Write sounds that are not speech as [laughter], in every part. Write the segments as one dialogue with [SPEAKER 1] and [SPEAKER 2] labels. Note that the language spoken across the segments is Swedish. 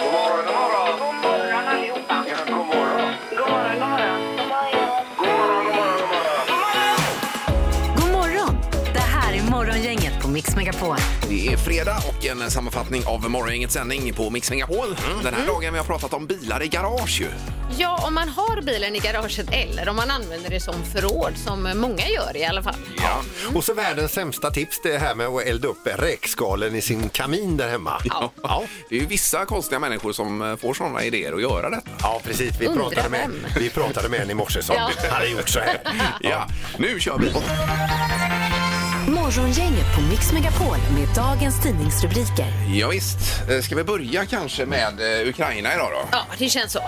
[SPEAKER 1] God morgon, god morgon.
[SPEAKER 2] God morgon allihopa.
[SPEAKER 1] Ja, god morgon.
[SPEAKER 2] God morgon, god morgon. God morgon.
[SPEAKER 1] God morgon, god morgon, god morgon.
[SPEAKER 3] God morgon! Det här är Morgongänget på Mix Megapol.
[SPEAKER 4] Det är fredag och en sammanfattning av morgongängets sändning på Mix Megapol. Den här dagen vi har pratat om bilar i garage ju.
[SPEAKER 5] Ja, om man har bilen i garaget eller om man använder det som förråd, som många gör i alla fall.
[SPEAKER 4] Ja.
[SPEAKER 6] Och så världens sämsta tips det här med att elda upp räkskalen i sin kamin där hemma.
[SPEAKER 4] Ja. Det är ju vissa konstiga människor som eh, får sådana idéer att göra detta.
[SPEAKER 6] Ja, precis. Vi pratade, med,
[SPEAKER 5] vem.
[SPEAKER 6] vi pratade med en i morse som
[SPEAKER 5] Ja.
[SPEAKER 6] hade gjort så här.
[SPEAKER 4] Ja, nu kör vi!
[SPEAKER 3] Morgongänget på Mix Megapol med dagens tidningsrubriker.
[SPEAKER 4] Ja, visst. Eh, Ska vi börja kanske med eh, Ukraina idag då?
[SPEAKER 5] Ja, det känns så.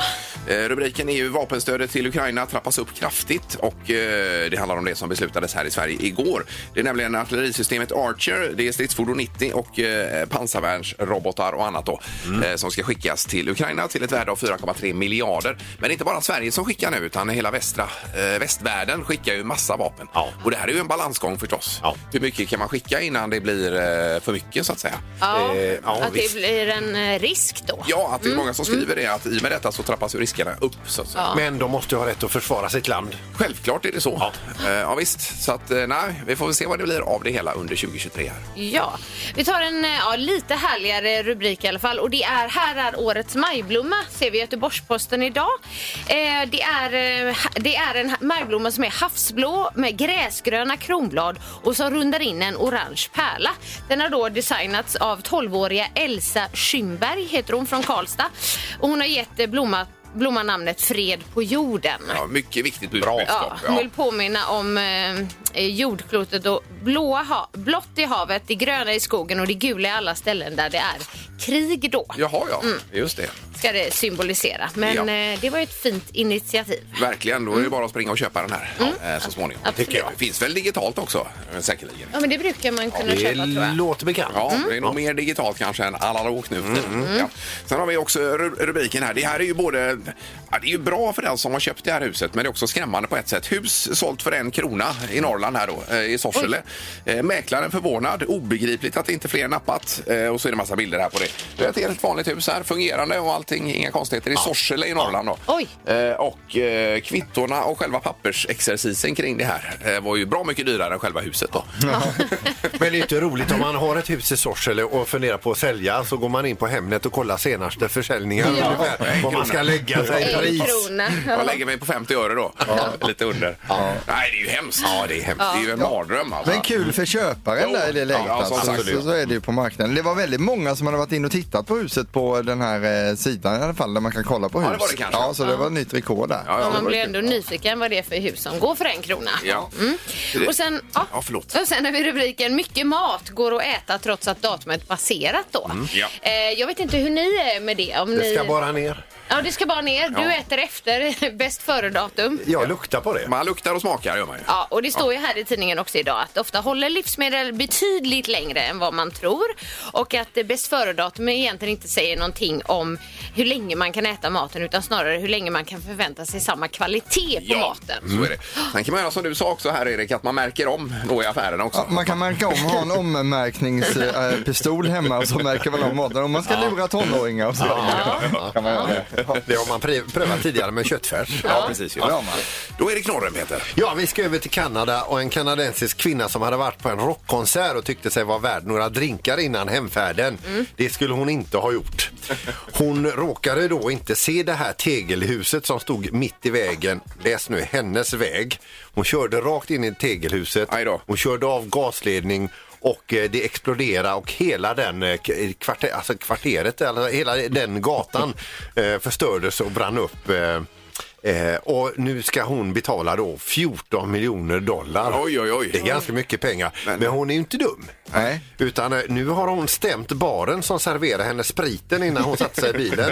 [SPEAKER 4] Eh, Rubriken är ju vapenstödet till Ukraina trappas upp kraftigt och eh, det handlar om det som beslutades här i Sverige igår. Det är nämligen artillerisystemet Archer, det är stridsfordon 90 och eh, pansarvärnsrobotar och annat då
[SPEAKER 6] Mm.
[SPEAKER 4] eh, som ska skickas till Ukraina till ett värde av 4,3 miljarder. Men det är inte bara Sverige som skickar nu utan hela västra, eh, västvärlden skickar ju massa vapen.
[SPEAKER 6] Ja.
[SPEAKER 4] Och det här är ju en balansgång förstås.
[SPEAKER 6] Ja.
[SPEAKER 4] Hur mycket kan man skicka innan det blir eh, för mycket så att säga?
[SPEAKER 5] Ja,
[SPEAKER 6] Eh, ja,
[SPEAKER 5] att
[SPEAKER 6] visst.
[SPEAKER 5] det blir en eh, risk då.
[SPEAKER 4] Ja, att det är många som skriver det att i och med detta så trappas ju riskerna upp så att säga.
[SPEAKER 6] Men de måste ju ha rätt att försvara sitt land.
[SPEAKER 4] Självklart är det så. Ja. ja visst, så att eh, nej, vi får väl se vad det blir av det hela under 2023 här.
[SPEAKER 5] Ja, vi tar en eh, ja, lite härligare rubrik i alla fall och det är här är årets majblomma ser vi i Göteborgs-Posten idag. Eh, det, är, eh, ha- det är en ha- majblomma som är havsblå med gräsgröna kronblad och som rundar in en orange pärla. Den har då designats av 12-åriga Elsa Schymberg heter hon från Karlstad och hon har gett eh, blomma, blomman namnet Fred på jorden.
[SPEAKER 4] Ja, mycket viktigt budskap.
[SPEAKER 5] Ja, hon vill påminna om eh, jordklotet och blåa ha- blått i havet, det gröna i skogen och det gula i alla ställen där det är krig då,
[SPEAKER 4] Jaha, ja.
[SPEAKER 5] Mm.
[SPEAKER 4] Just det.
[SPEAKER 5] ska det symbolisera. Men
[SPEAKER 4] Ja.
[SPEAKER 5] eh, det var ju ett fint initiativ.
[SPEAKER 4] Verkligen, då är det bara att springa och köpa den här eh, så småningom.
[SPEAKER 5] Mm. Absolut.
[SPEAKER 4] Tycker jag. Finns väl digitalt också, eh, säkerligen.
[SPEAKER 5] Ja, men det brukar man kunna
[SPEAKER 6] Det
[SPEAKER 5] köpa tror jag.
[SPEAKER 6] låter bekant.
[SPEAKER 4] Ja, det är nog mer digitalt kanske än analogt nu för tiden. ja. Sen har vi också ru- rubriken här. Det här är ju både... Ja, det är ju bra för den som har köpt det här huset men det är också skrämmande på ett sätt. Hus sålt för en krona i Norrland här då, eh, i Sorsele. Eh, mäklaren förvånad. Obegripligt att inte fler nappat. Eh, och så är det massa bilder här på det. Det är ett helt vanligt hus här, fungerande och allting, inga konstigheter. I Sorsele i Norrland då.
[SPEAKER 5] Oj.
[SPEAKER 4] Eh, och eh, kvittorna och själva pappersexercisen kring det här eh, var ju bra mycket dyrare än själva huset då.
[SPEAKER 6] Men det är inte roligt om man har ett hus i Sorsele och funderar på att sälja så går man in på Hemnet och kollar senaste försäljningar
[SPEAKER 5] Ja.
[SPEAKER 6] ungefär vad man ska lägga sig i
[SPEAKER 5] En
[SPEAKER 6] pris.
[SPEAKER 5] krona.
[SPEAKER 4] Jag lägger mig på 50 öre då. [laughs] Lite under. Nej, det är ju hemskt. Ja, det är hemskt. Det är ju en mardröm alltså.
[SPEAKER 7] Men kul för köparen
[SPEAKER 4] Jo,
[SPEAKER 7] där i det läget.
[SPEAKER 4] ja, som
[SPEAKER 7] alltså.
[SPEAKER 4] sagt.
[SPEAKER 7] så, så är det ju på marknaden. Det var väldigt många som hade varit in och tittat på huset på den här eh, sidan i alla fall där man kan kolla på hus.
[SPEAKER 4] det var det kanske.
[SPEAKER 7] Ja, så det var ett nytt rekord där.
[SPEAKER 4] Ja, ja,
[SPEAKER 5] Och
[SPEAKER 4] det
[SPEAKER 5] man
[SPEAKER 4] var
[SPEAKER 5] blir
[SPEAKER 4] kul.
[SPEAKER 5] ändå nyfiken vad det är för hus som går för en krona.
[SPEAKER 4] Ja.
[SPEAKER 5] Mm. Och sen, ja.
[SPEAKER 4] Ja, förlåt.
[SPEAKER 5] Och sen har vi rubriken Mycket mat går att äta trots att datumet passerat då.
[SPEAKER 4] Mm. Ja.
[SPEAKER 5] Eh, jag vet inte hur ni är med det. Om
[SPEAKER 6] Det ska
[SPEAKER 5] ni...
[SPEAKER 6] bara ner.
[SPEAKER 5] Ja, det ska bara ner. Du
[SPEAKER 4] Ja.
[SPEAKER 5] äter efter [laughs] bäst före-datum.
[SPEAKER 6] Jag luktar på det.
[SPEAKER 4] Man luktar och smakar gör man ju.
[SPEAKER 5] Ja, och det står ju här i tidningen också idag att ofta håller livsmedel betydligt längre än vad man tror och att eh, bäst före-datum egentligen inte säger någonting om hur länge man kan äta maten utan snarare hur länge man kan förvänta sig samma kvalitet på maten.
[SPEAKER 4] så är det. Sen kan man göra som du sa också här Erik, att man märker om då i affärerna också.
[SPEAKER 7] Ja, man kan märka om, ha en ommärkningspistol hemma och så märker man om maten. Om man ska lura tonåringar och så. Kan man göra det.
[SPEAKER 6] Det har man pre- prövat tidigare med köttfärs.
[SPEAKER 4] Ja, precis. ju.
[SPEAKER 7] Ja, det har man.
[SPEAKER 4] Då är det knorren Peter.
[SPEAKER 6] Ja, vi ska över till Kanada och en kanadensisk kvinna som hade varit på en rockkonsert och tyckte sig vara värd några drinkar innan hemfärden. Det skulle hon inte ha gjort. Hon råkade då inte se det här tegelhuset som stod mitt i vägen. Läs nu hennes väg. Hon körde rakt in i tegelhuset.
[SPEAKER 4] Aj då.
[SPEAKER 6] Hon körde av gasledning och eh, det exploderade och hela den eh, k- kvarter, alltså kvarteret, alltså hela
[SPEAKER 4] [laughs]
[SPEAKER 6] den gatan eh, förstördes och brann upp. eh, eh, Och nu ska hon betala då 14 miljoner dollar.
[SPEAKER 4] Oj, oj, oj.
[SPEAKER 6] Det är ganska mycket pengar.
[SPEAKER 4] Men-
[SPEAKER 6] Men, hon är ju inte dum.
[SPEAKER 7] Nej.
[SPEAKER 6] Utan eh, nu har hon stämt baren som serverade henne spriten innan hon satte sig
[SPEAKER 4] [laughs]
[SPEAKER 6] i bilen.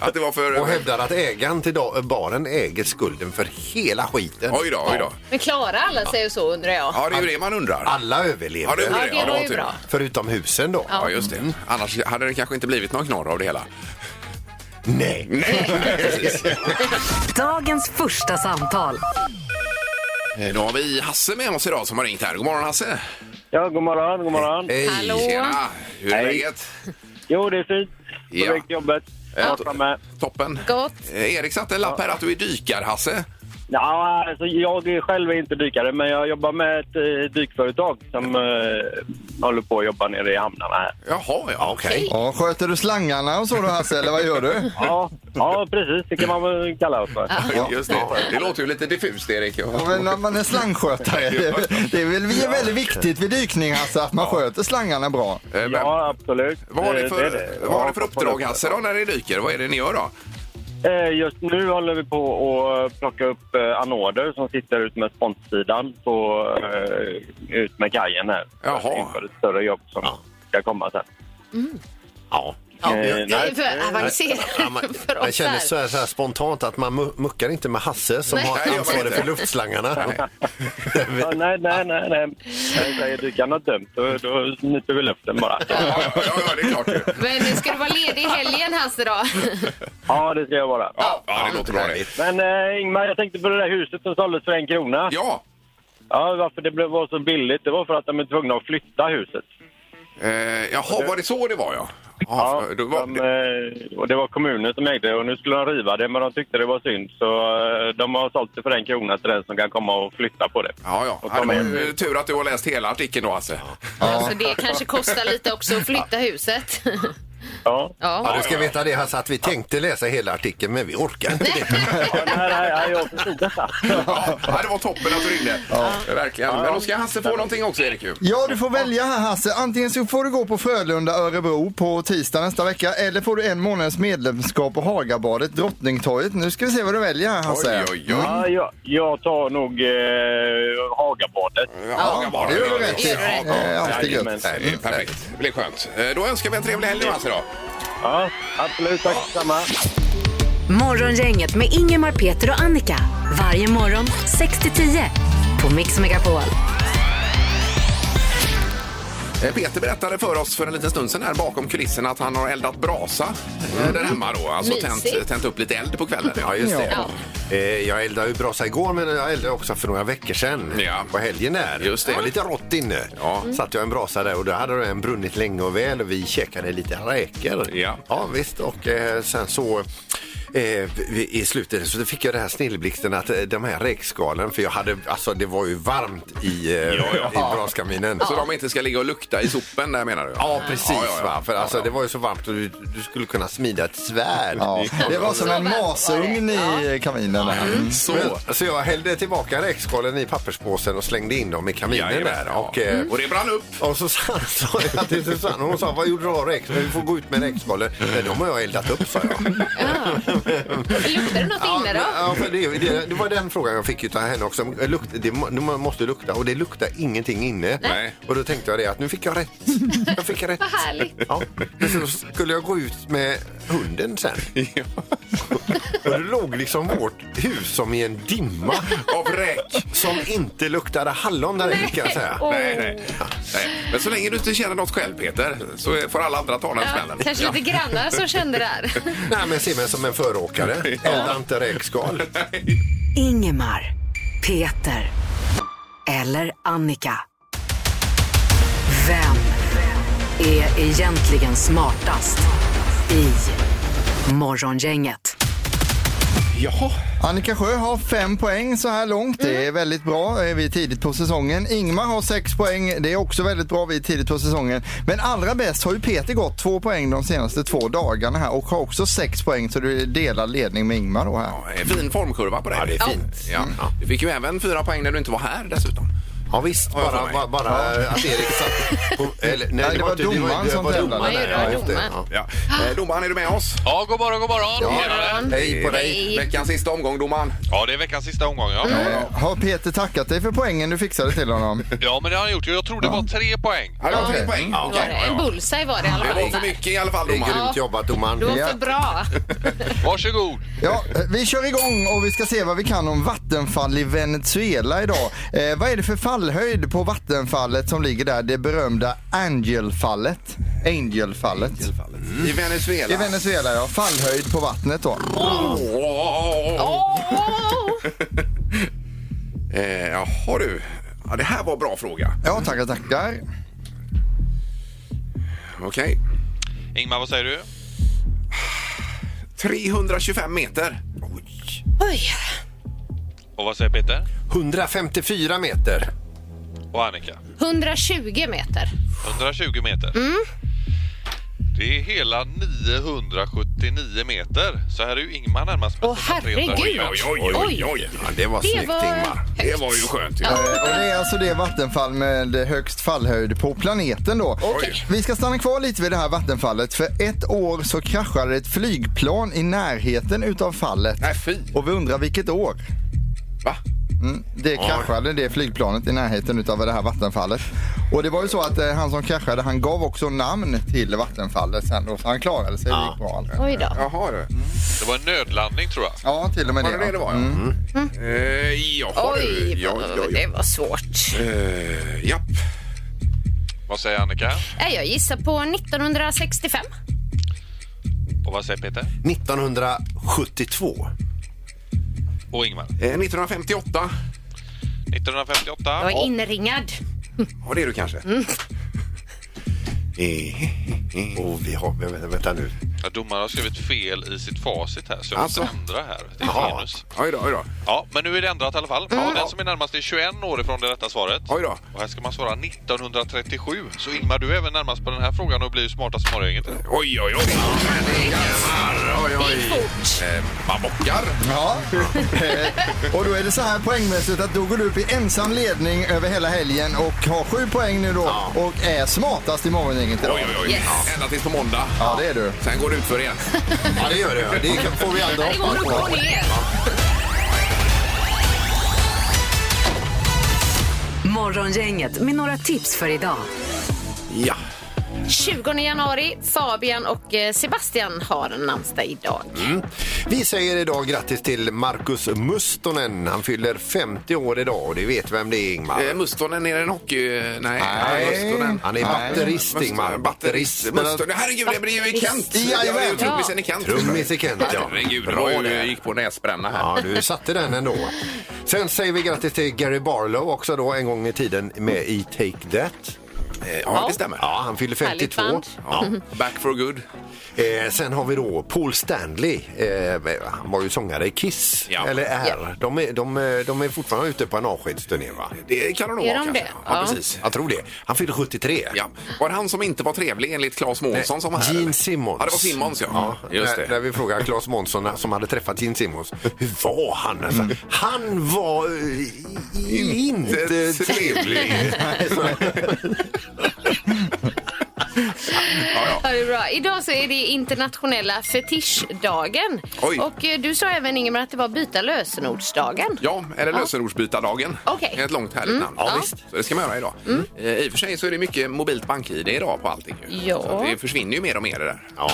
[SPEAKER 4] Att det var för...
[SPEAKER 6] Och hävdar att ägaren till da- baren äger skulden för hela skiten.
[SPEAKER 4] Oj då, oj då.
[SPEAKER 5] Men klarar alla sig så undrar jag?
[SPEAKER 4] Ja, det är ju det man undrar.
[SPEAKER 6] Alla överlevde.
[SPEAKER 4] Ja, det gjorde
[SPEAKER 5] Ja,
[SPEAKER 4] det.
[SPEAKER 5] det var ju
[SPEAKER 4] tur.
[SPEAKER 5] bra.
[SPEAKER 6] Förutom husen då.
[SPEAKER 4] Ja, just det. Annars hade det kanske inte blivit någon knorr av det hela.
[SPEAKER 6] Nej.
[SPEAKER 4] Nej, precis.
[SPEAKER 3] Dagens första samtal.
[SPEAKER 4] Eh, Då har vi Hasse med oss idag som har ringt här. God morgon Hasse!
[SPEAKER 8] Ja, god morgon, god morgon.
[SPEAKER 6] Hej.
[SPEAKER 5] Mm. Hallå?
[SPEAKER 4] Tjena! Hur är läget?
[SPEAKER 8] Jo, det är fint.
[SPEAKER 4] Ja.
[SPEAKER 8] Korrekt jobbat.
[SPEAKER 4] Ja.
[SPEAKER 8] Jag med.
[SPEAKER 4] Toppen.
[SPEAKER 5] Gott.
[SPEAKER 4] Eh, Erik satte en lapp här att du är dykarhasse.
[SPEAKER 8] Ja, alltså, jag är själv är inte dykare, men jag jobbar med ett eh, dykföretag som eh, håller på att jobba nere i hamnarna här.
[SPEAKER 4] Jaha, ja okej.
[SPEAKER 7] Ja, sköter du slangarna och så då Hasse, eller vad gör du?
[SPEAKER 8] Ja, ja precis. Det kan man väl kalla oss för.
[SPEAKER 4] Ja, Just det. det låter ju lite diffust Erik. Eh,
[SPEAKER 7] Ja, men när man är slangskötare, det är, det är väl det är väldigt viktigt vid dykning Hasse, att man sköter slangarna bra.
[SPEAKER 4] Eh, men
[SPEAKER 8] Ja, absolut.
[SPEAKER 4] Vad har ni
[SPEAKER 8] Eh,
[SPEAKER 4] för,
[SPEAKER 8] det är det.
[SPEAKER 4] vad har ni för
[SPEAKER 8] Ja,
[SPEAKER 4] uppdrag Hasse då när ni dyker? Vad är det ni gör
[SPEAKER 8] [laughs]
[SPEAKER 4] då?
[SPEAKER 8] Eh, Just nu håller vi på att plocka upp eh, anoder som sitter ut med sponssidan på, eh, ut med kajen här.
[SPEAKER 4] Jaha.
[SPEAKER 8] Inför ett större jobb som ska komma sen.
[SPEAKER 6] Ja.
[SPEAKER 8] Eh,
[SPEAKER 6] jag-
[SPEAKER 5] Det är för avancerat
[SPEAKER 4] [laughs]
[SPEAKER 6] Ja, man,
[SPEAKER 5] [laughs] för
[SPEAKER 6] jag
[SPEAKER 5] oss
[SPEAKER 6] känner
[SPEAKER 5] här.
[SPEAKER 6] så här, så här spontant att man mu- muckar inte med Hasse som
[SPEAKER 5] Nej.
[SPEAKER 4] Nej, det gör
[SPEAKER 6] har
[SPEAKER 4] man
[SPEAKER 6] ansvaret
[SPEAKER 4] inte.
[SPEAKER 6] för luftslangarna.
[SPEAKER 8] Ja, nej, nej, nej, nej. Jag säger dykarna dumt, då, då nyper vi luften bara.
[SPEAKER 4] Ja, ja, ja, det är klart ju.
[SPEAKER 5] Men ska du vara ledig i helgen Hasse då?
[SPEAKER 8] Ja, det ska jag vara.
[SPEAKER 4] Ja, ja, det låter bra det.
[SPEAKER 8] Men eh, Ingmar, jag tänkte på det där huset som såldes för en krona.
[SPEAKER 4] Ja,
[SPEAKER 8] Ja, varför det blev, var så billigt, det var för att de är tvungna att flytta huset.
[SPEAKER 4] eh, jaha, var det så det var ja?
[SPEAKER 8] Ja,
[SPEAKER 4] Ja, för- då var
[SPEAKER 8] de, eh, och det var kommunen som ägde det och nu skulle de riva det men de tyckte det var synd så eh, de har sålt det för en krona till den som kan komma och flytta på det.
[SPEAKER 4] Ja, ja.
[SPEAKER 8] Och
[SPEAKER 4] ja. Det
[SPEAKER 8] ta
[SPEAKER 4] var
[SPEAKER 8] med.
[SPEAKER 4] ju tur att du har läst hela artikeln då Hasse.
[SPEAKER 5] Alltså det kanske kostar lite också att flytta huset. [laughs]
[SPEAKER 8] Ja.
[SPEAKER 6] Ja,
[SPEAKER 5] Ja.
[SPEAKER 6] du ska veta det Hasse att vi tänkte läsa hela artikeln men vi orkar inte det.
[SPEAKER 8] Ja, nej, nej, nej, jag förstod detta.
[SPEAKER 4] Ja, det var toppen att du ringde. Verkligen. Men då ska Hasse få någonting också Erik ju.
[SPEAKER 7] Ja, du får välja här Hasse. Antingen så får du gå på Frölunda Örebro på tisdag nästa vecka eller får du en månads medlemskap på Hagabadet, Drottningtorget. Nu ska vi se vad du väljer här Hasse.
[SPEAKER 4] Oj, oj, oj.
[SPEAKER 8] Ja, jag, jag tar nog eh, Hagabadet.
[SPEAKER 4] Ja, var
[SPEAKER 7] det gör du rätt i.
[SPEAKER 4] Ja, ja.
[SPEAKER 7] Eh, alltid gött.
[SPEAKER 8] Jajamän.
[SPEAKER 4] Nej, det är Perfekt. Det blir skönt. Eh, Då önskar vi en trevlig helg nu Hasse då.
[SPEAKER 8] Ja, absolut. Tack detsamma.
[SPEAKER 3] Morgongänget med Ingemar, Peter och Annika. Varje morgon 6 till 10 på Mix Megapol.
[SPEAKER 4] Eh, Peter berättade för oss för en liten stund sedan här bakom kulisserna att han har eldat brasa eh, där hemma då. Alltså tänt,
[SPEAKER 5] Mysigt.
[SPEAKER 4] tänt upp lite eld på kvällen. Ja, just det.
[SPEAKER 5] Ja.
[SPEAKER 6] Eh, Jag eldade ju brasa igår men jag eldade också för några veckor sedan
[SPEAKER 4] Ja.
[SPEAKER 6] på helgen där.
[SPEAKER 4] Just det.
[SPEAKER 6] var lite rått inne.
[SPEAKER 4] Ja.
[SPEAKER 6] Satt jag en brasa där och då hade den brunnit länge och väl och vi käkade lite räkor.
[SPEAKER 4] Ja.
[SPEAKER 6] ja visst och eh, sen så eh, vi- i slutet så fick jag det här snilleblixten att eh, de här räkskalen för jag hade alltså det var ju varmt i, eh, i braskaminen.
[SPEAKER 4] Så de inte ska ligga och lukta i sopen där menar du?
[SPEAKER 6] Ja, precis.
[SPEAKER 4] Ja, ja, ja.
[SPEAKER 6] Va? För alltså, det var ju så varmt och du, du skulle kunna smida ett svärd.
[SPEAKER 7] Ja. Det var som en
[SPEAKER 5] Så väl var
[SPEAKER 7] masugn i kaminen. där.
[SPEAKER 4] Mm. Så.
[SPEAKER 6] Men, så jag hällde tillbaka räkskalen i papperspåsen och slängde in dem i kaminen
[SPEAKER 4] Jajamän,
[SPEAKER 6] där.
[SPEAKER 4] ja. Mm.
[SPEAKER 6] Och, eh,
[SPEAKER 4] Och det brann upp.
[SPEAKER 6] och Susanne sa [laughs] jag till Susanne, hon sa vad gjorde du av räkskalen? Vi får gå ut med räkskalen. Men de har jag eldat upp sa jag.
[SPEAKER 4] [laughs]
[SPEAKER 5] Luktar det något inne då?
[SPEAKER 6] Ja, men det, det, det var den frågan jag fick utav henne också. Lukt, det, må- man måste lukta och det luktar ingenting inne.
[SPEAKER 4] Nej.
[SPEAKER 6] Och då tänkte jag det att nu fick jag rätt. Jag fick rätt.
[SPEAKER 5] Vad härligt.
[SPEAKER 6] Ja, men så skulle jag gå ut med
[SPEAKER 4] [laughs]
[SPEAKER 6] hunden sen. Och det låg liksom vårt hus som i en dimma
[SPEAKER 4] Av
[SPEAKER 6] [laughs]
[SPEAKER 4] räk.
[SPEAKER 6] som inte luktade hallon där inne kan jag säga.
[SPEAKER 5] Åh.
[SPEAKER 4] Nej, nej, nej. Men så länge du inte känner något själv Peter så får alla andra ta den
[SPEAKER 5] Ja,
[SPEAKER 4] smällen.
[SPEAKER 5] kanske lite grannar som kände det här.
[SPEAKER 6] Nej, men se mig som en föråkare. Elda inte räkskal.
[SPEAKER 3] Ingemar, Peter eller Annika. Vem är egentligen smartast i Morgongänget?
[SPEAKER 4] Jaha.
[SPEAKER 7] Annika Sjö har fem poäng så här långt. Det är väldigt bra. Eh, Vi är tidigt på säsongen. Ingmar har sex poäng. Det är också väldigt bra. Vi är tidigt på säsongen. Men allra bäst har ju Peter gått två poäng de senaste två dagarna här och har också sex poäng så du delar ledning med Ingmar då här.
[SPEAKER 4] Ja, en fin formkurva på dig. Ja, det är fint. Ja. Du fick ju även fyra poäng när du inte var här dessutom.
[SPEAKER 6] Ja, visst,
[SPEAKER 4] Har jag för
[SPEAKER 6] bara,
[SPEAKER 4] mig.
[SPEAKER 6] bara, bara att Erik satt på... Eller, nej,
[SPEAKER 7] det var
[SPEAKER 6] inte- det
[SPEAKER 7] domaren
[SPEAKER 6] det
[SPEAKER 7] som
[SPEAKER 6] var
[SPEAKER 7] tävlade.
[SPEAKER 6] domaren,
[SPEAKER 5] Nej, det
[SPEAKER 6] ja,
[SPEAKER 5] var
[SPEAKER 6] just det,
[SPEAKER 5] domaren.
[SPEAKER 6] ja.
[SPEAKER 4] Ja. Eh, domaren, är du med oss?
[SPEAKER 9] Ja, god morgon, god morgon.
[SPEAKER 6] Ja, Hej på dig.
[SPEAKER 5] Hej.
[SPEAKER 4] Veckans sista omgång, domaren.
[SPEAKER 9] Ja, det är veckans sista omgång. Ja,
[SPEAKER 7] Eh, Har Peter tackat dig för poängen du fixade till honom?
[SPEAKER 9] ja men det har han gjort. Jag tror det var tre poäng.
[SPEAKER 4] Ja, det var tre
[SPEAKER 7] Ja.
[SPEAKER 4] poäng.
[SPEAKER 5] Det var det. En bullseye var det i alla
[SPEAKER 4] Det
[SPEAKER 5] fall.
[SPEAKER 4] var för mycket i alla fall,
[SPEAKER 6] Det är
[SPEAKER 4] domaren.
[SPEAKER 6] grymt jobbat,
[SPEAKER 5] Det
[SPEAKER 6] domaren.
[SPEAKER 5] var
[SPEAKER 7] Ja.
[SPEAKER 5] för bra.
[SPEAKER 9] Varsågod.
[SPEAKER 7] Ja, eh, vi kör igång och vi ska se vad vi kan om vattenfall i Venezuela idag. Eh, vad är det för fallhöjd på vattenfallet som ligger där? Det berömda Angelfallet. Angelfallet.
[SPEAKER 4] I Venezuela.
[SPEAKER 7] I Venezuela ja, fallhöjd på vattnet då.
[SPEAKER 4] Åh, åh, åh.
[SPEAKER 5] Åh!
[SPEAKER 4] Eh, Jaha du. Ja, det här var en bra fråga.
[SPEAKER 7] Ja, tackar tackar.
[SPEAKER 4] Okej.
[SPEAKER 9] Ingmar, vad säger du?
[SPEAKER 4] 325 meter.
[SPEAKER 5] Oj.
[SPEAKER 9] Och vad säger Peter?
[SPEAKER 6] 154 meter.
[SPEAKER 9] Och Annika?
[SPEAKER 5] 120 meter.
[SPEAKER 9] 120 meter. Det är hela 979 meter. Så här är ju Ingmar närmast. med
[SPEAKER 5] Åh,
[SPEAKER 9] sina
[SPEAKER 5] herregud.
[SPEAKER 9] 325.
[SPEAKER 5] Oj,
[SPEAKER 4] oj.
[SPEAKER 6] Ja, det var
[SPEAKER 5] Det
[SPEAKER 6] snyggt
[SPEAKER 5] var-
[SPEAKER 6] Ingmar.
[SPEAKER 4] Det var ju skönt. ju.
[SPEAKER 7] Eh, Och det är alltså det vattenfall med högst fallhöjd på planeten då.
[SPEAKER 4] Okej.
[SPEAKER 7] Vi ska stanna kvar lite vid det här vattenfallet. För ett år så kraschade ett flygplan i närheten utav fallet.
[SPEAKER 4] Nej, fy.
[SPEAKER 7] Och vi undrar vilket år?
[SPEAKER 4] Va?
[SPEAKER 7] Mm, det kraschade det flygplanet i närheten utav det här vattenfallet. Och det var ju så att eh, han som kraschade han gav också namn till vattenfallet sen då. Så han klarade sig. Det gick bra. aldrig.
[SPEAKER 5] Oj då.
[SPEAKER 4] Jaha, du.
[SPEAKER 9] Det var en nödlandning tror jag.
[SPEAKER 7] Ja, Mm. till och med
[SPEAKER 4] Var det det det
[SPEAKER 7] det.
[SPEAKER 4] var? ja? Eh, Jaha, du.
[SPEAKER 5] Oj,
[SPEAKER 4] Ja, ja,
[SPEAKER 5] det
[SPEAKER 4] ja.
[SPEAKER 5] var svårt.
[SPEAKER 4] Eh, Japp.
[SPEAKER 9] Vad säger Annika?
[SPEAKER 5] Nej, Jag gissar på 1965.
[SPEAKER 9] Och vad säger Peter?
[SPEAKER 6] 1972.
[SPEAKER 9] Och Ingmar?
[SPEAKER 4] Eh, 1958.
[SPEAKER 9] 1958?
[SPEAKER 5] Jag är inringad.
[SPEAKER 4] Ja, det är du kanske. Eh,
[SPEAKER 6] Och vi har... Vänta, vänta nu.
[SPEAKER 9] Ja, domaren har skrivit fel i sitt facit här, så jag måste
[SPEAKER 4] Alltså.
[SPEAKER 9] ändra här. Det
[SPEAKER 6] Jaha.
[SPEAKER 9] är genus.
[SPEAKER 4] Oj då, oj då.
[SPEAKER 9] Ja, men nu är det ändrat i alla fall. Och den som är närmast är 21 år ifrån det rätta svaret.
[SPEAKER 4] Mm. Oj då.
[SPEAKER 9] Och här ska man svara 1937. Så Ingmar, du är även närmast på den här frågan och blir ju smartast i morgongänget.
[SPEAKER 4] Oj, oj, oj. Oj, oj, oj. Eh, Man bockar.
[SPEAKER 7] Ja, Eh, och då är det så här poängmässigt att då går du upp i ensam ledning över hela helgen och har sju poäng nu då och är smartast i morgongänget idag.
[SPEAKER 4] Oj, oj, oj.
[SPEAKER 5] Yes.
[SPEAKER 4] Ända tills på måndag.
[SPEAKER 7] Ja, det är du.
[SPEAKER 4] Sen går det ut för igen.
[SPEAKER 6] Ja, det gör det. Det kan- får vi andra
[SPEAKER 5] Det går
[SPEAKER 6] hoppas
[SPEAKER 5] upp och
[SPEAKER 6] på.
[SPEAKER 5] ner.
[SPEAKER 3] Morgongänget med några tips för idag.
[SPEAKER 4] Ja.
[SPEAKER 5] 20 januari. Fabian och eh, Sebastian har namnsdag idag.
[SPEAKER 6] Vi säger idag grattis till Marcus Mustonen. Han fyller 50 år idag och det vet vem det är, Ingmar.
[SPEAKER 4] Eh, Mustonen, är det en hockey... Nej.
[SPEAKER 6] Nej.
[SPEAKER 4] Mustonen.
[SPEAKER 6] Han är batterist,
[SPEAKER 4] Mustonen,
[SPEAKER 6] Ingmar. Batterist.
[SPEAKER 4] Mustonen. Herregud, det blir ju i Kent.
[SPEAKER 7] Jajamän.
[SPEAKER 4] Det var ju Trummisen i Kent.
[SPEAKER 6] Trummis i Kent, ja.
[SPEAKER 4] Herregud,
[SPEAKER 6] Bra
[SPEAKER 4] vad
[SPEAKER 6] där.
[SPEAKER 4] du gick på näsbränna här.
[SPEAKER 6] Ja, du satte den ändå. Sen säger vi grattis till Gary Barlow också då, en gång i tiden med i Take That.
[SPEAKER 4] Eh, Ja, det stämmer.
[SPEAKER 6] Ja, han fyller
[SPEAKER 5] Härligt
[SPEAKER 6] 52.
[SPEAKER 5] band.
[SPEAKER 6] Ja.
[SPEAKER 4] Back for good.
[SPEAKER 6] Eh, sen har vi då Paul Stanley. Eh, han var ju sångare i Kiss,
[SPEAKER 4] Ja.
[SPEAKER 6] eller är.
[SPEAKER 5] Ja.
[SPEAKER 6] De, är de, är- de är fortfarande ute på en avskedsturné, va?
[SPEAKER 4] Det kan det nog
[SPEAKER 5] Är
[SPEAKER 4] vara
[SPEAKER 5] de
[SPEAKER 4] kanske.
[SPEAKER 5] det?
[SPEAKER 4] Ja,
[SPEAKER 5] Ja.
[SPEAKER 4] precis.
[SPEAKER 6] Jag tror det. Han fyller 73.
[SPEAKER 4] Ja. Var det han som inte var trevlig enligt Claes Månsson som var här? eller?
[SPEAKER 6] Gene Simmons.
[SPEAKER 4] Ja, det var Simmons ja. Just
[SPEAKER 6] när,
[SPEAKER 4] det.
[SPEAKER 6] när vi frågade Claes Månsson eh, som hade träffat Gene Simmons. Hur var han? Alltså,
[SPEAKER 4] Mm.
[SPEAKER 6] Han var eh, i-
[SPEAKER 4] [laughs]
[SPEAKER 6] inte trevlig.
[SPEAKER 5] Ja, det är bra. Idag så är det internationella fetischdagen.
[SPEAKER 4] Oj.
[SPEAKER 5] Och eh, du sa även Ingemar att det var byta lösenordsdagen.
[SPEAKER 4] Ja, eller lösenordsbytardagen.
[SPEAKER 5] Okej.
[SPEAKER 4] Ett långt härligt namn.
[SPEAKER 6] Ja, visst.
[SPEAKER 4] Så det ska man göra idag. Eh, I och för sig så är det mycket mobilt bank-id idag på allting. ju.
[SPEAKER 5] Ja.
[SPEAKER 4] Så att det försvinner ju mer och mer det där.
[SPEAKER 6] Ja.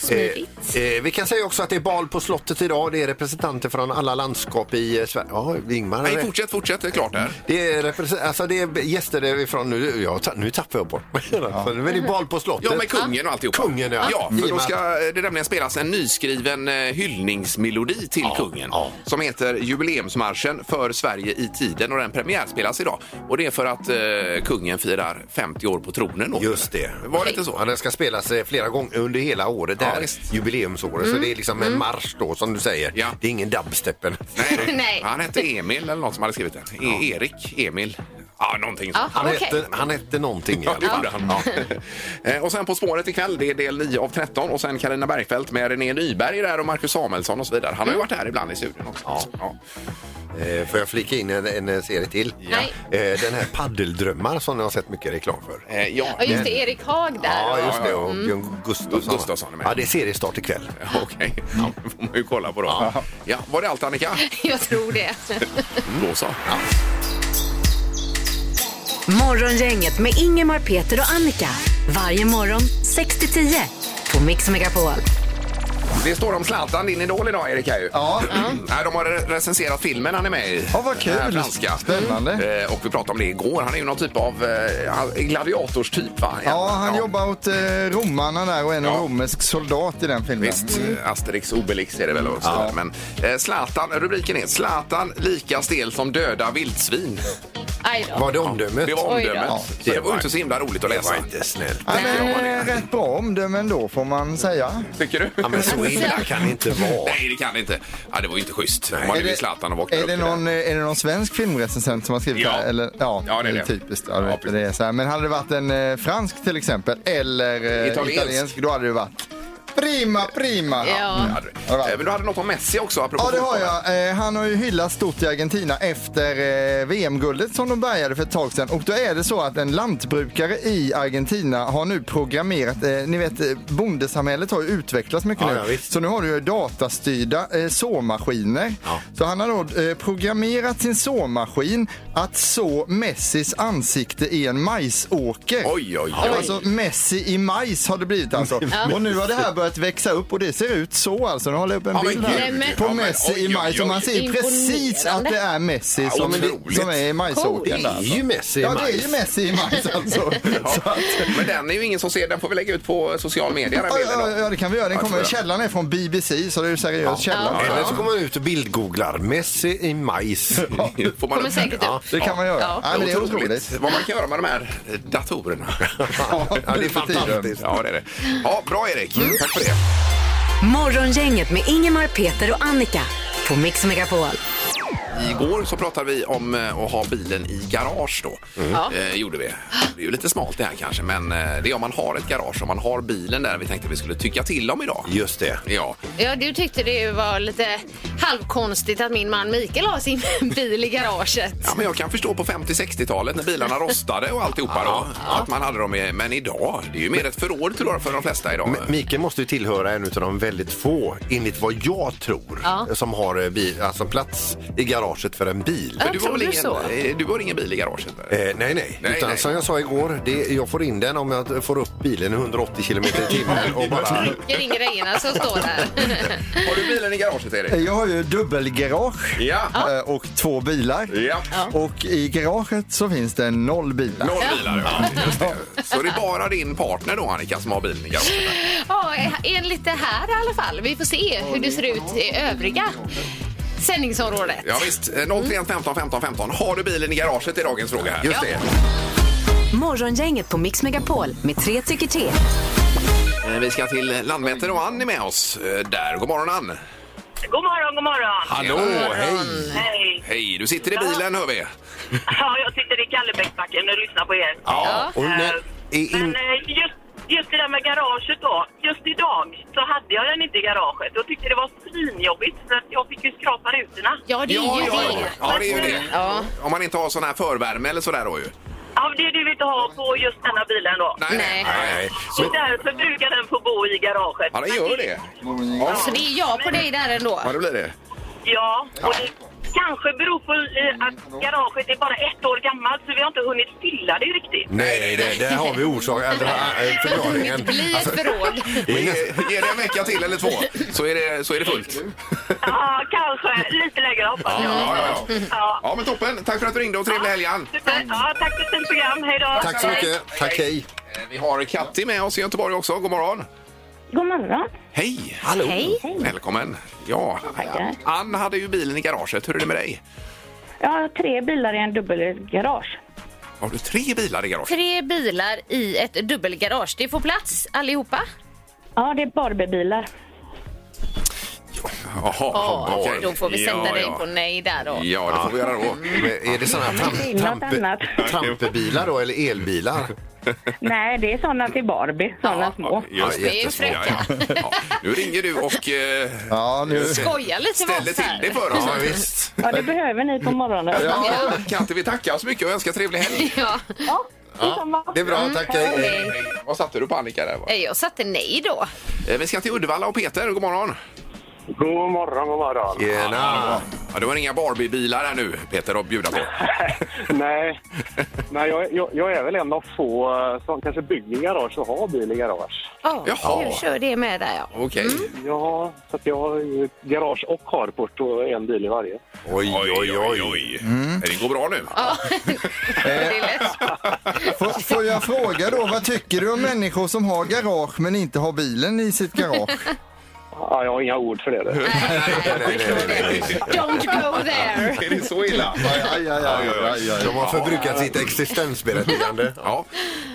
[SPEAKER 5] Smidigt.
[SPEAKER 6] Eh, eh, vi kan säga också att det är bal på slottet idag. Det är representanter från alla landskap i eh, Sverige. Ja, Ingmar.
[SPEAKER 4] Nej,
[SPEAKER 6] det-
[SPEAKER 4] fortsätt, fortsätt. Det är klart där.
[SPEAKER 6] det är, represen- alltså det är gäster ifrån nu, ja, ta- nu tappar jag bort mig. Ja. Men det är bal på slottet.
[SPEAKER 4] Ja, med kungen och alltihopa.
[SPEAKER 6] Kungen, ja.
[SPEAKER 4] ja
[SPEAKER 6] I
[SPEAKER 4] för
[SPEAKER 6] och
[SPEAKER 4] då
[SPEAKER 6] med
[SPEAKER 4] ska det nämligen spelas en nyskriven eh, hyllningsmelodi till kungen
[SPEAKER 6] ja.
[SPEAKER 4] som heter Jubileumsmarschen för Sverige i tiden och den premiärspelas idag. Och det är för att eh, kungen firar 50 år på tronen. Då.
[SPEAKER 6] Just det.
[SPEAKER 4] Var det inte
[SPEAKER 6] Ja,
[SPEAKER 4] så?
[SPEAKER 6] den ska spelas eh, flera gånger under hela året, det
[SPEAKER 4] Ja,
[SPEAKER 6] här
[SPEAKER 4] visst.
[SPEAKER 6] jubileumsåret.
[SPEAKER 5] Mm.
[SPEAKER 6] Så det är liksom en marsch då, som du säger.
[SPEAKER 4] Ja.
[SPEAKER 6] Det är ingen dubstep. eller-
[SPEAKER 5] [laughs] Nej.
[SPEAKER 4] Han hette Emil eller något som hade skrivit det. E- Erik, Emil. Ja, någonting sånt.
[SPEAKER 5] Ja,
[SPEAKER 6] [laughs] Han,
[SPEAKER 5] okej.
[SPEAKER 6] hette, han hette någonting. i
[SPEAKER 4] Ja,
[SPEAKER 6] alla
[SPEAKER 4] det
[SPEAKER 6] fall.
[SPEAKER 4] gjorde han. [laughs] Eh, och sen På spåret ikväll, det är del 9 av 13 och sen Karina Bergfeldt med René Nyberg där och Marcus Samuelsson och så vidare.
[SPEAKER 6] Mm.
[SPEAKER 4] Han har ju varit här ibland i studion också. Ja.
[SPEAKER 6] Eh, Får jag flika in en, en serie till?
[SPEAKER 5] Nej.
[SPEAKER 6] Eh, Den här Paddeldrömmar som jag har sett mycket reklam för.
[SPEAKER 4] Eh, ja.
[SPEAKER 5] Ja, just det. Erik Haag där.
[SPEAKER 6] Ja,
[SPEAKER 5] och-
[SPEAKER 6] just det. Och Björn Gustafsson.
[SPEAKER 4] Gustafsson är med.
[SPEAKER 6] ja, det är seriestart ikväll.
[SPEAKER 4] Okej, det får man ju kolla på då. Ja. var det allt Annika?
[SPEAKER 5] [laughs]
[SPEAKER 7] Mm.
[SPEAKER 5] Jag tror det.
[SPEAKER 4] Då så.
[SPEAKER 3] Morgongänget med Ingemar, Peter och Annika. Varje morgon 6 till 10 på Mix Megapol.
[SPEAKER 4] Det står om Zlatan, din idol idag Erik. Här ju. Mm.
[SPEAKER 7] Ja.
[SPEAKER 4] Nej, de har re- recenserat filmen han är med i.
[SPEAKER 7] Ja, vad kul.
[SPEAKER 4] Den här franska.
[SPEAKER 7] Spännande.
[SPEAKER 4] Eh, Och vi pratade om det igår. Han är ju någon typ av eh, han- gladiatorstyp va?
[SPEAKER 7] Ja, han jobbar åt eh, romarna där och är en
[SPEAKER 4] Ja.
[SPEAKER 7] romersk soldat i den filmen.
[SPEAKER 4] Visst, eh, Asterix Obelix är det väl också. Men eh, Zlatan, rubriken är Zlatan lika stel som döda vildsvin.
[SPEAKER 5] Aj då.
[SPEAKER 6] Var det omdömet?
[SPEAKER 4] Det var
[SPEAKER 5] Oj då.
[SPEAKER 4] omdömet.
[SPEAKER 7] Ja.
[SPEAKER 4] Så Det var inte så himla roligt att
[SPEAKER 6] Det var
[SPEAKER 4] läsa.
[SPEAKER 6] inte snällt.
[SPEAKER 7] Ja,
[SPEAKER 4] Nej.
[SPEAKER 7] men, eh, rätt bra omdöme ändå får man säga.
[SPEAKER 4] Tycker du?
[SPEAKER 6] Ja, men så illa kan det inte vara.
[SPEAKER 4] Nej, det kan det inte. Ja, det var ju inte schysst. Om man
[SPEAKER 7] Är
[SPEAKER 4] nu är
[SPEAKER 7] det-
[SPEAKER 4] Zlatan och vaknar
[SPEAKER 7] Är
[SPEAKER 4] upp
[SPEAKER 7] det,
[SPEAKER 4] till
[SPEAKER 7] någon, eh, är det någon svensk filmrecensent som har skrivit
[SPEAKER 4] Ja.
[SPEAKER 7] det här? Eller, ja,
[SPEAKER 4] Ja, det är det.
[SPEAKER 7] Typiskt. Ja, du
[SPEAKER 4] Ja,
[SPEAKER 7] vet, det
[SPEAKER 4] precis.
[SPEAKER 7] är så här. Men hade det varit en eh, fransk till exempel, eller eh,
[SPEAKER 4] Italiensk.
[SPEAKER 7] italiensk. då hade det varit prima, prima.
[SPEAKER 5] Ja.
[SPEAKER 4] Ja, det- Eh, Men du hade något om Messi också? Apropå
[SPEAKER 7] Ja, det har
[SPEAKER 4] fotbollen.
[SPEAKER 7] jag. Eh, han har ju hyllats stort i Argentina efter eh, VM-guldet som de bärgade för ett tag sedan. Och då är det så att en lantbrukare i Argentina har nu programmerat, eh, ni vet eh, bondesamhället har ju utvecklats mycket
[SPEAKER 6] Ja,
[SPEAKER 7] nu.
[SPEAKER 6] ja, visst.
[SPEAKER 7] så nu har du ju datastyrda eh, såmaskiner.
[SPEAKER 6] Ja.
[SPEAKER 7] Så han har då eh, programmerat sin såmaskin att så Messis ansikte i en majsåker.
[SPEAKER 4] Oj, oj,
[SPEAKER 7] Det var
[SPEAKER 4] oj.
[SPEAKER 7] [laughs] Alltså Messi i majs har det blivit alltså. Och nu har det här börjat växa upp och det ser ut så alltså. Nu håller jag upp en
[SPEAKER 4] Ja, men
[SPEAKER 7] bild
[SPEAKER 4] gud.
[SPEAKER 7] här
[SPEAKER 5] Nej, men-
[SPEAKER 7] på
[SPEAKER 4] Ja, men
[SPEAKER 7] Messi
[SPEAKER 4] oj,
[SPEAKER 7] i
[SPEAKER 4] oj,
[SPEAKER 7] majs. Och man
[SPEAKER 4] oj.
[SPEAKER 7] ser ju precis att det är Messi som,
[SPEAKER 4] otroligt.
[SPEAKER 7] som är i
[SPEAKER 6] Det
[SPEAKER 7] majsåkern. där,
[SPEAKER 6] är
[SPEAKER 7] Alltså.
[SPEAKER 6] ju Messi i
[SPEAKER 7] Ja, det är ju
[SPEAKER 6] majs.
[SPEAKER 7] Messi i majs alltså. Så att,
[SPEAKER 4] Men den är ju ingen som ser. Den får vi lägga ut på social media. Den
[SPEAKER 7] ja,
[SPEAKER 4] bilden då.
[SPEAKER 7] ja, ja, det kan vi göra. Den
[SPEAKER 4] Ja, det får vi
[SPEAKER 7] kommer,
[SPEAKER 4] göra.
[SPEAKER 7] källan är från BBC så det är ju seriös källa.
[SPEAKER 6] Eller så går man ut och bildgooglar Messi i
[SPEAKER 4] [laughs]
[SPEAKER 6] majs.
[SPEAKER 4] Får man
[SPEAKER 5] Kommer
[SPEAKER 4] upp den?
[SPEAKER 5] säkert upp.
[SPEAKER 7] Det kan man göra.
[SPEAKER 5] Ja.
[SPEAKER 7] Ja. men det är otroligt.
[SPEAKER 4] Vad man kan göra med de här datorerna.
[SPEAKER 7] [laughs]
[SPEAKER 6] Ja, det är fantastiskt.
[SPEAKER 4] Ja, det är det. Ja, bra Erik.
[SPEAKER 7] Mm.
[SPEAKER 4] Tack för det.
[SPEAKER 3] Morgongänget med Ingemar, Peter och Annika på Mix Megapol.
[SPEAKER 4] Igår så pratade vi om eh, att ha bilen i garage då.
[SPEAKER 5] Ja.
[SPEAKER 4] Eh, gjorde vi. Det är ju lite smalt det här kanske, men eh, det är om man har ett garage, om man har bilen där vi tänkte vi skulle tycka till om idag.
[SPEAKER 6] Just det.
[SPEAKER 4] Ja,
[SPEAKER 5] Ja, du tyckte det var lite halvkonstigt att min man Mikael har sin [laughs] bil i garaget.
[SPEAKER 4] Ja, men jag kan förstå på 50-60-talet när bilarna rostade och alltihopa då, att man hade dem i, Men idag, det är ju mer ett förråd tror jag för de flesta idag.
[SPEAKER 6] M- Mikael måste ju tillhöra en av de väldigt få, enligt vad jag tror,
[SPEAKER 5] Ja.
[SPEAKER 6] som har eh, bil, alltså plats i garaget för en bil.
[SPEAKER 5] Ja.
[SPEAKER 4] du, har
[SPEAKER 5] tror
[SPEAKER 4] väl
[SPEAKER 5] du
[SPEAKER 4] ingen,
[SPEAKER 5] så?
[SPEAKER 4] eh, du har ingen bil i garaget? Där.
[SPEAKER 6] Eh, nej, nej.
[SPEAKER 4] Nej,
[SPEAKER 6] Utan
[SPEAKER 4] nej.
[SPEAKER 6] som jag sa igår, det, jag får in den om jag får upp bilen i 180 km i timmen och bara...
[SPEAKER 5] Det ringer regnar som står där.
[SPEAKER 4] [laughs] Har du bilen i garaget Erik?
[SPEAKER 7] Jag har ju dubbelgarage
[SPEAKER 4] Ja.
[SPEAKER 7] eh, och två bilar.
[SPEAKER 4] Ja.
[SPEAKER 7] Och i garaget så finns det noll bilar.
[SPEAKER 4] Noll bilar, ja. Just det. Så det är bara din partner då, Annika, som har bilen i garaget?
[SPEAKER 5] Ja, enligt det här i alla fall. Vi får se hur det ser ut i övriga sändningsområdet.
[SPEAKER 4] Ja, visst, Eh, 031 15 15 15. Har du bilen i garaget i dagens fråga här?
[SPEAKER 6] Just det.
[SPEAKER 3] Morgongänget på Mix Megapol med tre tycker till.
[SPEAKER 4] Eh, Vi ska till Landvetter och Ann är med oss eh, där. God morgon Ann!
[SPEAKER 2] God morgon, god morgon.
[SPEAKER 4] Hallå, hej!
[SPEAKER 2] Hej.
[SPEAKER 4] Hej, du sitter i bilen hör vi.
[SPEAKER 2] Ja, jag sitter i Kallebäcksbacken och lyssnar på er.
[SPEAKER 6] Ja. Och när, i,
[SPEAKER 2] Men
[SPEAKER 4] Mm.
[SPEAKER 6] in,
[SPEAKER 2] eh, just, just det där med garaget då. Just idag så hade jag den inte i garaget och tyckte det var svinjobbigt för att jag fick ju skrapa rutorna.
[SPEAKER 5] Ja, det är
[SPEAKER 4] Ja,
[SPEAKER 5] ju
[SPEAKER 4] ja, ja.
[SPEAKER 5] det.
[SPEAKER 4] ja, det är ju det.
[SPEAKER 5] Ja.
[SPEAKER 4] Om man inte har sån här förvärme eller sådär då ju.
[SPEAKER 2] Ja, det vill du inte ha på just denna bilen då.
[SPEAKER 5] Nej.
[SPEAKER 4] nej.
[SPEAKER 2] Och därför brukar den få bo i garaget.
[SPEAKER 4] Ja, det gör det.
[SPEAKER 5] Så Alltså, det är jag på dig där ändå.
[SPEAKER 4] Ja, det blir det.
[SPEAKER 2] Ja, och det kanske beror på eh, att garaget är bara ett år gammalt så vi har inte hunnit fylla det riktigt.
[SPEAKER 6] nej, nej, nej, där har vi orsaken, eller äh,
[SPEAKER 5] Det
[SPEAKER 6] förklaringen.
[SPEAKER 5] blir
[SPEAKER 4] Alltså-
[SPEAKER 5] ett förråd.
[SPEAKER 4] Ge, ge Eh, det en vecka till eller två så är det, så är det fullt.
[SPEAKER 2] Ja, kanske. Lite längre hoppas jag.
[SPEAKER 4] Ja, ja, ja.
[SPEAKER 2] Ja.
[SPEAKER 4] ja, men toppen. Tack för att du ringde och trevlig helg Ann.
[SPEAKER 2] Super. Ja, tack för ett fint program. Hej då.
[SPEAKER 6] Tack så mycket. Tack, hej.
[SPEAKER 4] Eh, Vi har Katti med oss i Göteborg också. God morgon!
[SPEAKER 10] God morgon.
[SPEAKER 4] Hej!
[SPEAKER 6] Hallå.
[SPEAKER 5] Hej.
[SPEAKER 4] Välkommen! Ja,
[SPEAKER 10] Tackar.
[SPEAKER 4] Ann hade ju bilen i garaget. Hur är det med dig?
[SPEAKER 10] Jag har tre bilar i en dubbelgarage.
[SPEAKER 4] Har du tre bilar i garaget?
[SPEAKER 5] Tre bilar i ett dubbelgarage. Det får plats allihopa.
[SPEAKER 10] Ja, det är Barbiebilar.
[SPEAKER 4] Jaha,
[SPEAKER 5] Ja,
[SPEAKER 4] okej.
[SPEAKER 5] Då får vi sätta
[SPEAKER 4] ja,
[SPEAKER 5] dig
[SPEAKER 4] ja.
[SPEAKER 5] på nej där då.
[SPEAKER 4] Ja, det får vi göra då.
[SPEAKER 6] Men Är det sådana här
[SPEAKER 10] Det
[SPEAKER 6] tramp,
[SPEAKER 10] är något
[SPEAKER 6] trampe,
[SPEAKER 10] annat.
[SPEAKER 6] trampebilar då, eller elbilar?
[SPEAKER 10] Nej, det är sådana till Barbie. Sådana små.
[SPEAKER 4] just
[SPEAKER 5] Det är ju fräckt.
[SPEAKER 4] Ja, ja. Ja, nu ringer du och eh,
[SPEAKER 7] Ja, nu...
[SPEAKER 5] Skoja lite med
[SPEAKER 4] ställer
[SPEAKER 5] oss
[SPEAKER 4] till
[SPEAKER 5] här.
[SPEAKER 4] det för oss.
[SPEAKER 6] Ja, visst.
[SPEAKER 10] Ja, det behöver ni på morgonen.
[SPEAKER 4] Ja, Katti, vi tackar så mycket och önskar trevlig helg.
[SPEAKER 5] Ja.
[SPEAKER 10] Ja, detsamma.
[SPEAKER 6] Det är bra, tack. Hej.
[SPEAKER 5] Hej.
[SPEAKER 4] Vad satte du på Annika där? Va?
[SPEAKER 5] Eh, Jag satte nej då.
[SPEAKER 4] Eh, Vi ska till Uddevalla och Peter, god morgon.
[SPEAKER 8] God morgon, god morgon.
[SPEAKER 6] Tjena.
[SPEAKER 4] Ja, du har inga Barbie-bilar här nu, Peter, att bjuda på.
[SPEAKER 5] Mm.
[SPEAKER 8] Nej, Nej jag, jag, jag är väl en av få eh, som kanske bygger garage och har bil i garage.
[SPEAKER 5] Oh,
[SPEAKER 4] Jaha.
[SPEAKER 5] Du kör det med där ja.
[SPEAKER 4] Okej.
[SPEAKER 8] Ja, så att jag har ju garage och carport och en bil i varje.
[SPEAKER 6] Oj, oj, oj.
[SPEAKER 4] Det går bra nu.
[SPEAKER 5] Mm. Ja,
[SPEAKER 4] Eh.
[SPEAKER 5] det är lätt.
[SPEAKER 7] Får, får jag fråga då, vad tycker du om människor som har garage men inte har bilen i sitt garage?
[SPEAKER 8] Ja, jag har inga ord för det. du.
[SPEAKER 5] Don't go there.
[SPEAKER 4] Är det så illa?
[SPEAKER 7] [laughs] Aj, aj, aj, aj, aj, aj.
[SPEAKER 6] De har förbrukat sitt existensberättigande.
[SPEAKER 4] Ja,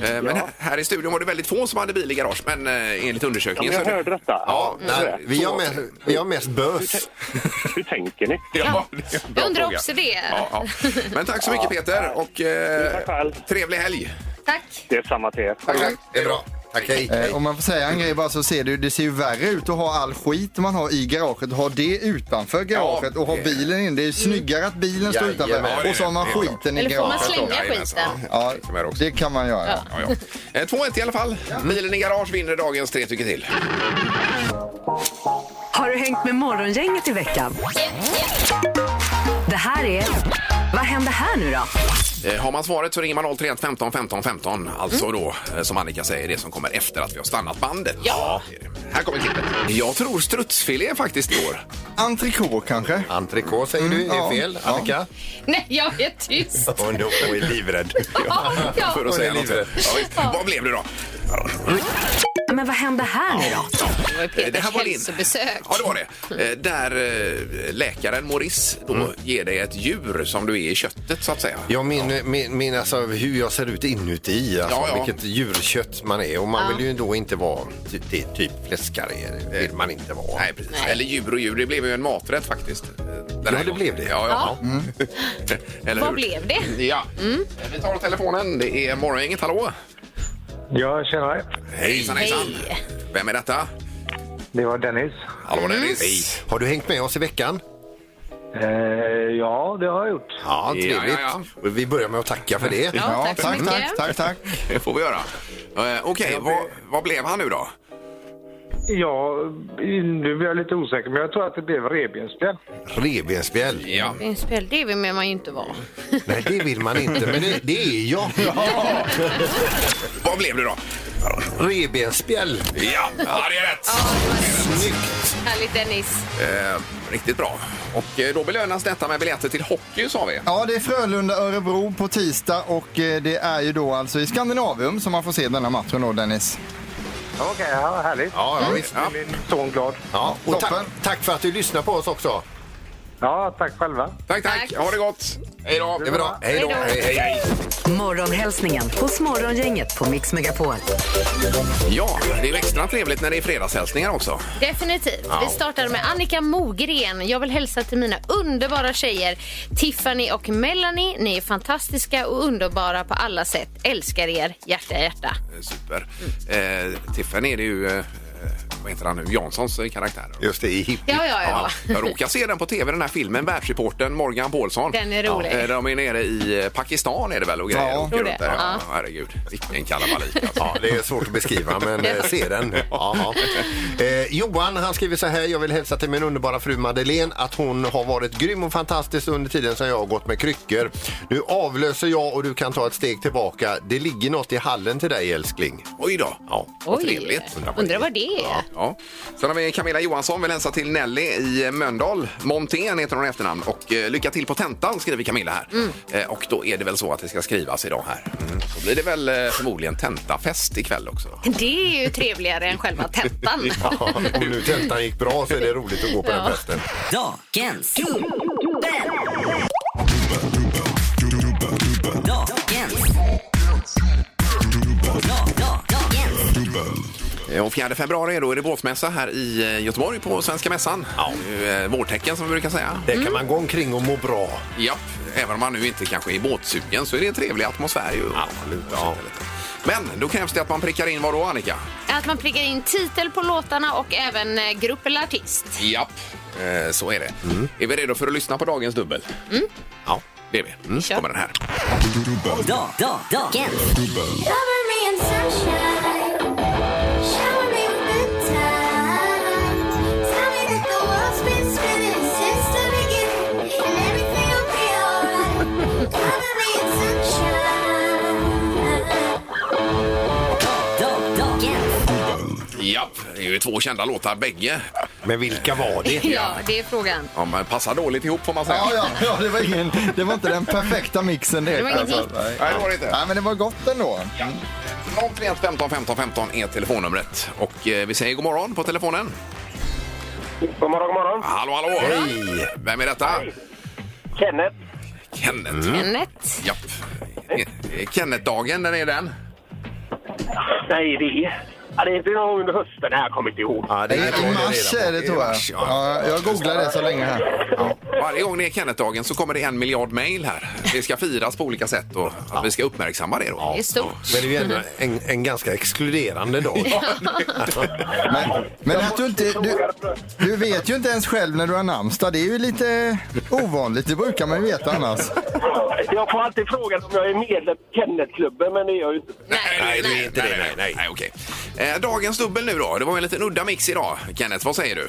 [SPEAKER 4] eh, men här- här i studion var det väldigt få som hade bil i garage, men eh, enligt undersökningen...
[SPEAKER 8] Ja, men jag
[SPEAKER 4] så-
[SPEAKER 8] hörde detta.
[SPEAKER 4] Ja,
[SPEAKER 6] Nej, vi, har mest, vi har mest bös.
[SPEAKER 8] Hur tänker ni?
[SPEAKER 4] Ja, det är en bra
[SPEAKER 5] Jag undrar
[SPEAKER 4] fråga.
[SPEAKER 5] också det.
[SPEAKER 4] Ja, ja. Men tack så mycket Peter och eh,
[SPEAKER 8] Tack själv.
[SPEAKER 4] trevlig helg.
[SPEAKER 5] Tack.
[SPEAKER 8] Det är samma till er.
[SPEAKER 6] Det är bra. Tack, hej.
[SPEAKER 7] Eh, om man får säga en grej bara så ser det ju, det ser ju värre ut att ha all skit man har i garaget, ha det utanför garaget och ha
[SPEAKER 4] det-
[SPEAKER 7] bilen in. Det är ju snyggare att bilen står
[SPEAKER 6] Jajamän. Ja,
[SPEAKER 7] utanför
[SPEAKER 4] det
[SPEAKER 7] och så har man
[SPEAKER 4] är det.
[SPEAKER 7] skiten i
[SPEAKER 5] Eller får man
[SPEAKER 7] garaget.
[SPEAKER 5] slänga
[SPEAKER 4] Jajamensan.
[SPEAKER 5] skiten?
[SPEAKER 7] Ja,
[SPEAKER 4] Som här också.
[SPEAKER 7] det kan man göra.
[SPEAKER 5] Ja.
[SPEAKER 4] Ja, ja. Eh, 2-1 i alla fall. Bilen i garage vinner dagens tre tycker till.
[SPEAKER 3] Har du hängt med Morgongänget i veckan? Det här är... Vad händer här nu då?
[SPEAKER 4] Eh, Har man svaret så ringer man 031 15 15 15. Alltså
[SPEAKER 5] Mm.
[SPEAKER 4] då, eh, som Annika säger, det som kommer efter att vi har stannat bandet. Ja. Här kommer klippet. Jag tror strutsfilé faktiskt i år.
[SPEAKER 7] Entrecote kanske?
[SPEAKER 6] Entrecote säger du, det är
[SPEAKER 7] ja.
[SPEAKER 6] fel.
[SPEAKER 7] Ja.
[SPEAKER 6] Annika?
[SPEAKER 5] Nej, jag är tyst.
[SPEAKER 6] Hon är livrädd.
[SPEAKER 5] Ja, ja.
[SPEAKER 4] För att säga något. Ja, visst. Vad blev det då?
[SPEAKER 3] Men vad händer här nu då?
[SPEAKER 5] Det var ju
[SPEAKER 4] Eh, det här
[SPEAKER 5] Peters
[SPEAKER 4] var din.
[SPEAKER 5] hälsobesök.
[SPEAKER 4] Ja, det var det. Eh, Där eh, läkaren Maurice då ger dig ett djur som du är i köttet så att säga.
[SPEAKER 6] Ja, min, min, min, alltså, hur jag ser ut inuti, alltså,
[SPEAKER 4] Ja, ja.
[SPEAKER 6] vilket djurkött man är. Och man vill ju då inte vara ty, det, är typ fläskare, det vill man inte vara.
[SPEAKER 4] Nej, precis. Eller djur och djur. Det blev ju en maträtt faktiskt. eh, Den här
[SPEAKER 6] det
[SPEAKER 4] gången.
[SPEAKER 6] blev det.
[SPEAKER 4] Ja, ja. [laughs] Eller
[SPEAKER 5] Vad
[SPEAKER 4] hur?
[SPEAKER 5] blev det?
[SPEAKER 4] Ja. Eh, Vi tar telefonen. Det är Morgongänget. Hallå!
[SPEAKER 8] Ja, tjena.
[SPEAKER 4] Hejsan, hejsan! Vem är detta?
[SPEAKER 8] Det var Dennis.
[SPEAKER 4] Hallå Dennis!
[SPEAKER 6] Har du hängt med oss i veckan?
[SPEAKER 8] Eh, ja, det har jag gjort.
[SPEAKER 6] Ja, trevligt.
[SPEAKER 4] Ja, ja,
[SPEAKER 6] Och Vi börjar med att tacka för det.
[SPEAKER 5] Ja, tack så
[SPEAKER 7] tack,
[SPEAKER 5] mycket.
[SPEAKER 7] tack, tack, tack.
[SPEAKER 4] Det får vi göra. Eh, Okej, vad, vad blev han nu då?
[SPEAKER 8] Ja, nu blir jag lite osäker, men jag tror att det blev revbensspjäll.
[SPEAKER 6] Revbensspjäll.
[SPEAKER 4] Ja.
[SPEAKER 5] Det är en spel, det vill man ju inte vara.
[SPEAKER 6] Nej, det vill man inte, men det, det är jag.
[SPEAKER 4] Vad blev det då?
[SPEAKER 6] Revbensspjäll.
[SPEAKER 4] Ja, ja det är rätt!
[SPEAKER 6] Snyggt!
[SPEAKER 5] Härligt Dennis.
[SPEAKER 4] Eh, riktigt bra. Och eh, då belönas detta med biljetter till hockey sa vi.
[SPEAKER 7] Ja, det är Frölunda-Örebro på tisdag och eh, det är ju då alltså i Skandinavium som man får se denna matchen då Dennis.
[SPEAKER 8] Okej, ja, härligt.
[SPEAKER 6] Ja, ja, visst.
[SPEAKER 8] Min son glad.
[SPEAKER 6] Ja, och tack,
[SPEAKER 7] Toppen.
[SPEAKER 6] tack för att du lyssnar på oss också.
[SPEAKER 8] Ja, tack själva.
[SPEAKER 4] Tack, tack,
[SPEAKER 5] Tack.
[SPEAKER 4] Ha det gott! Hej då!
[SPEAKER 6] Det är bra. Hej då.
[SPEAKER 5] Hej
[SPEAKER 6] Hej,
[SPEAKER 5] då.
[SPEAKER 6] hej, hej.
[SPEAKER 3] Morgonhälsningen hos Morgongänget på Mix Megapol.
[SPEAKER 4] Ja, det är ju extra trevligt när det är fredagshälsningar också. Eh,
[SPEAKER 5] Definitivt. Vi startar med Annika Mogren. Jag vill hälsa till mina underbara tjejer Tiffany och Melanie. Ni är fantastiska och underbara på alla sätt. Älskar er. Hjärta, hjärta.
[SPEAKER 4] Eh, Super. Eh, Tiffany är det ju, eh, vad heter han nu, Janssons eh, karaktär.
[SPEAKER 6] Just det, i hipp.
[SPEAKER 5] Ja, ja, ja.
[SPEAKER 4] Ja, jag råkar se den på tv, den här filmen, världsreportern Morgan Paulsson.
[SPEAKER 5] Den är rolig.
[SPEAKER 4] Eh, De är nere i eh, Pakistan är det väl och grejer.
[SPEAKER 7] Ja.
[SPEAKER 4] och åker
[SPEAKER 5] Tror det.
[SPEAKER 4] runt där.
[SPEAKER 5] Ja.
[SPEAKER 4] Ja, herregud, vilken kalabalik alltså.
[SPEAKER 6] Ja, det är svårt att beskriva, men eh, se den. Ja, ja. Eh, Johan han skriver så här. Jag vill hälsa till min underbara fru Madeleine att hon har varit grym och fantastisk under tiden som jag har gått med kryckor. Nu avlöser jag och du kan ta ett steg tillbaka. Det ligger något i hallen till dig, älskling.
[SPEAKER 4] Oj då, ja, vad
[SPEAKER 5] Oj,
[SPEAKER 4] trevligt.
[SPEAKER 5] undrar vad det är.
[SPEAKER 4] Ja. Sen har vi Camilla Johansson, vill hälsa till Nelly i Mölndal. Montén heter hon i efternamn. Och eh, lycka till på tentan skriver Camilla här.
[SPEAKER 5] Mm.
[SPEAKER 4] Eh, och då är det väl så att det ska skrivas idag här. Då blir det väl eh, förmodligen tentafest ikväll också.
[SPEAKER 5] Det är ju trevligare än själva tentan.
[SPEAKER 6] [laughs] Ja, om nu tentan gick bra så är det roligt att gå på den festen.
[SPEAKER 11] Dagens dubbel. Dagens. Da- da- Dagens.
[SPEAKER 4] Eh, och 4 februari är då är det båtmässa här i eh, Göteborg på Svenska Mässan. Ja. Eh, vårtecken som vi brukar säga.
[SPEAKER 6] Där kan man gå omkring och må bra.
[SPEAKER 4] Ja, även om man nu inte kanske är båtsugen så är det en trevlig atmosfär ju. Absolut, ja. Men då krävs det att man prickar in vad då Annika?
[SPEAKER 5] Att man prickar in titel på låtarna och även eh, grupp eller artist.
[SPEAKER 4] Japp, eh, så är det. Är vi redo för att lyssna på dagens dubbel? Ja, det är vi. Mm.
[SPEAKER 5] Mm. Kör.
[SPEAKER 4] kommer den här.
[SPEAKER 11] Da- da- Dagens. Da- da- Dagens.
[SPEAKER 4] Japp, det är ju två kända låtar bägge.
[SPEAKER 6] Men vilka var det?
[SPEAKER 5] Ja, det är frågan.
[SPEAKER 4] Ja, men passar dåligt ihop får man säga.
[SPEAKER 7] Ja, ja, ja det, var ingen, det var inte den perfekta mixen direkt.
[SPEAKER 5] Det var inget hit.
[SPEAKER 7] Nej.
[SPEAKER 4] Nej, det var det inte.
[SPEAKER 7] Nej, men det var gott ändå.
[SPEAKER 4] Ja. 031 15 15 15 är telefonnumret. Och eh, vi säger god morgon på telefonen.
[SPEAKER 12] God morgon, god morgon.
[SPEAKER 4] Hallå, hallå!
[SPEAKER 6] Hej!
[SPEAKER 4] Vem är detta?
[SPEAKER 12] Kenneth.
[SPEAKER 4] Kenneth.
[SPEAKER 5] Kenneth.
[SPEAKER 4] Japp. Eh, Kenneth-dagen, den är den.
[SPEAKER 12] Nej, det är... Ja, det är inte någon gång under hösten, det här kommer jag inte ihåg.
[SPEAKER 6] Ja, det
[SPEAKER 7] Det är I mars är det tror jag.
[SPEAKER 4] mars, ja.
[SPEAKER 7] Ja, jag googlar det så länge här.
[SPEAKER 4] Varje gång det är Kenneth-dagen så kommer det en miljard mejl här. Det ska firas på olika sätt och att vi ska uppmärksamma det då.
[SPEAKER 5] Det är stort.
[SPEAKER 6] Men det är ju ändå en, en ganska exkluderande dag.
[SPEAKER 7] Men, men att du inte... Du, du vet ju inte ens själv när du har namnsdag. Det är ju lite ovanligt. Det brukar man ju veta annars.
[SPEAKER 12] Jag får alltid frågan om jag är medlem i Kennetklubben, men det är jag ju inte.
[SPEAKER 4] Nej, det är inte det. Nej, nej, nej, okej. Eh, Dagens dubbel nu då. Det var ju en liten udda mix idag. Kenneth, vad säger du?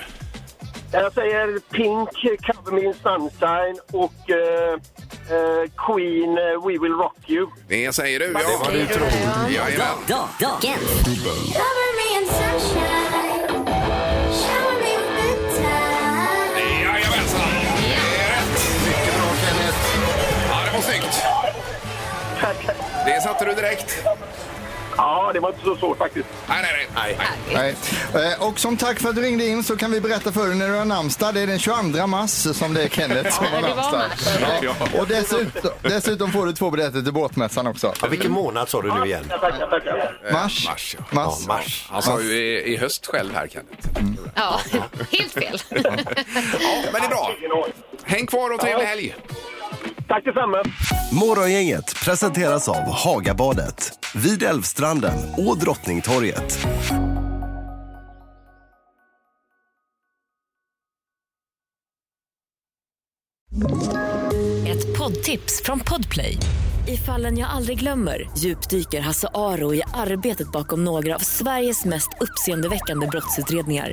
[SPEAKER 12] Jag säger Pink, Cover Me in Sunshine och eh, eh, Queen, eh, We Will Rock You.
[SPEAKER 4] Det säger du, ja. Det var
[SPEAKER 6] du tror.
[SPEAKER 4] Jajamän.
[SPEAKER 11] Dagens
[SPEAKER 4] Jajamensan! Det är rätt. Mycket bra, Kenneth. Ja, det var snyggt. Det satte du direkt.
[SPEAKER 12] Ja, det var inte så svårt faktiskt.
[SPEAKER 4] Nej, nej, nej. nej.
[SPEAKER 7] Nej. Eh, Och som tack för att du ringde in så kan vi berätta för dig när du har namnsdag. Det är den 22 mars som det är Kenneth som har
[SPEAKER 5] det var
[SPEAKER 7] namnsdag.
[SPEAKER 5] mars.
[SPEAKER 7] Ja. Och dessutom, dessutom får du två biljetter till båtmässan också.
[SPEAKER 6] Ja, vilken månad sa du nu igen?
[SPEAKER 12] Tackar, tackar.
[SPEAKER 7] Eh, Mars.
[SPEAKER 4] mars, ja.
[SPEAKER 6] Ja,
[SPEAKER 7] mars.
[SPEAKER 6] mars.
[SPEAKER 4] Han sa ju i, i höst själv här, Kenneth.
[SPEAKER 5] Ja, [laughs] helt fel. [laughs]
[SPEAKER 4] Ja, men det är bra. Häng kvar och trevlig helg.
[SPEAKER 12] Tack detsamma.
[SPEAKER 13] Morgongänget presenteras av Hagabadet, vid Älvstranden och Drottningtorget.
[SPEAKER 11] Ett poddtips från Podplay. I fallen jag aldrig glömmer djupdyker Hasse Aro i arbetet bakom några av Sveriges mest uppseendeväckande brottsutredningar.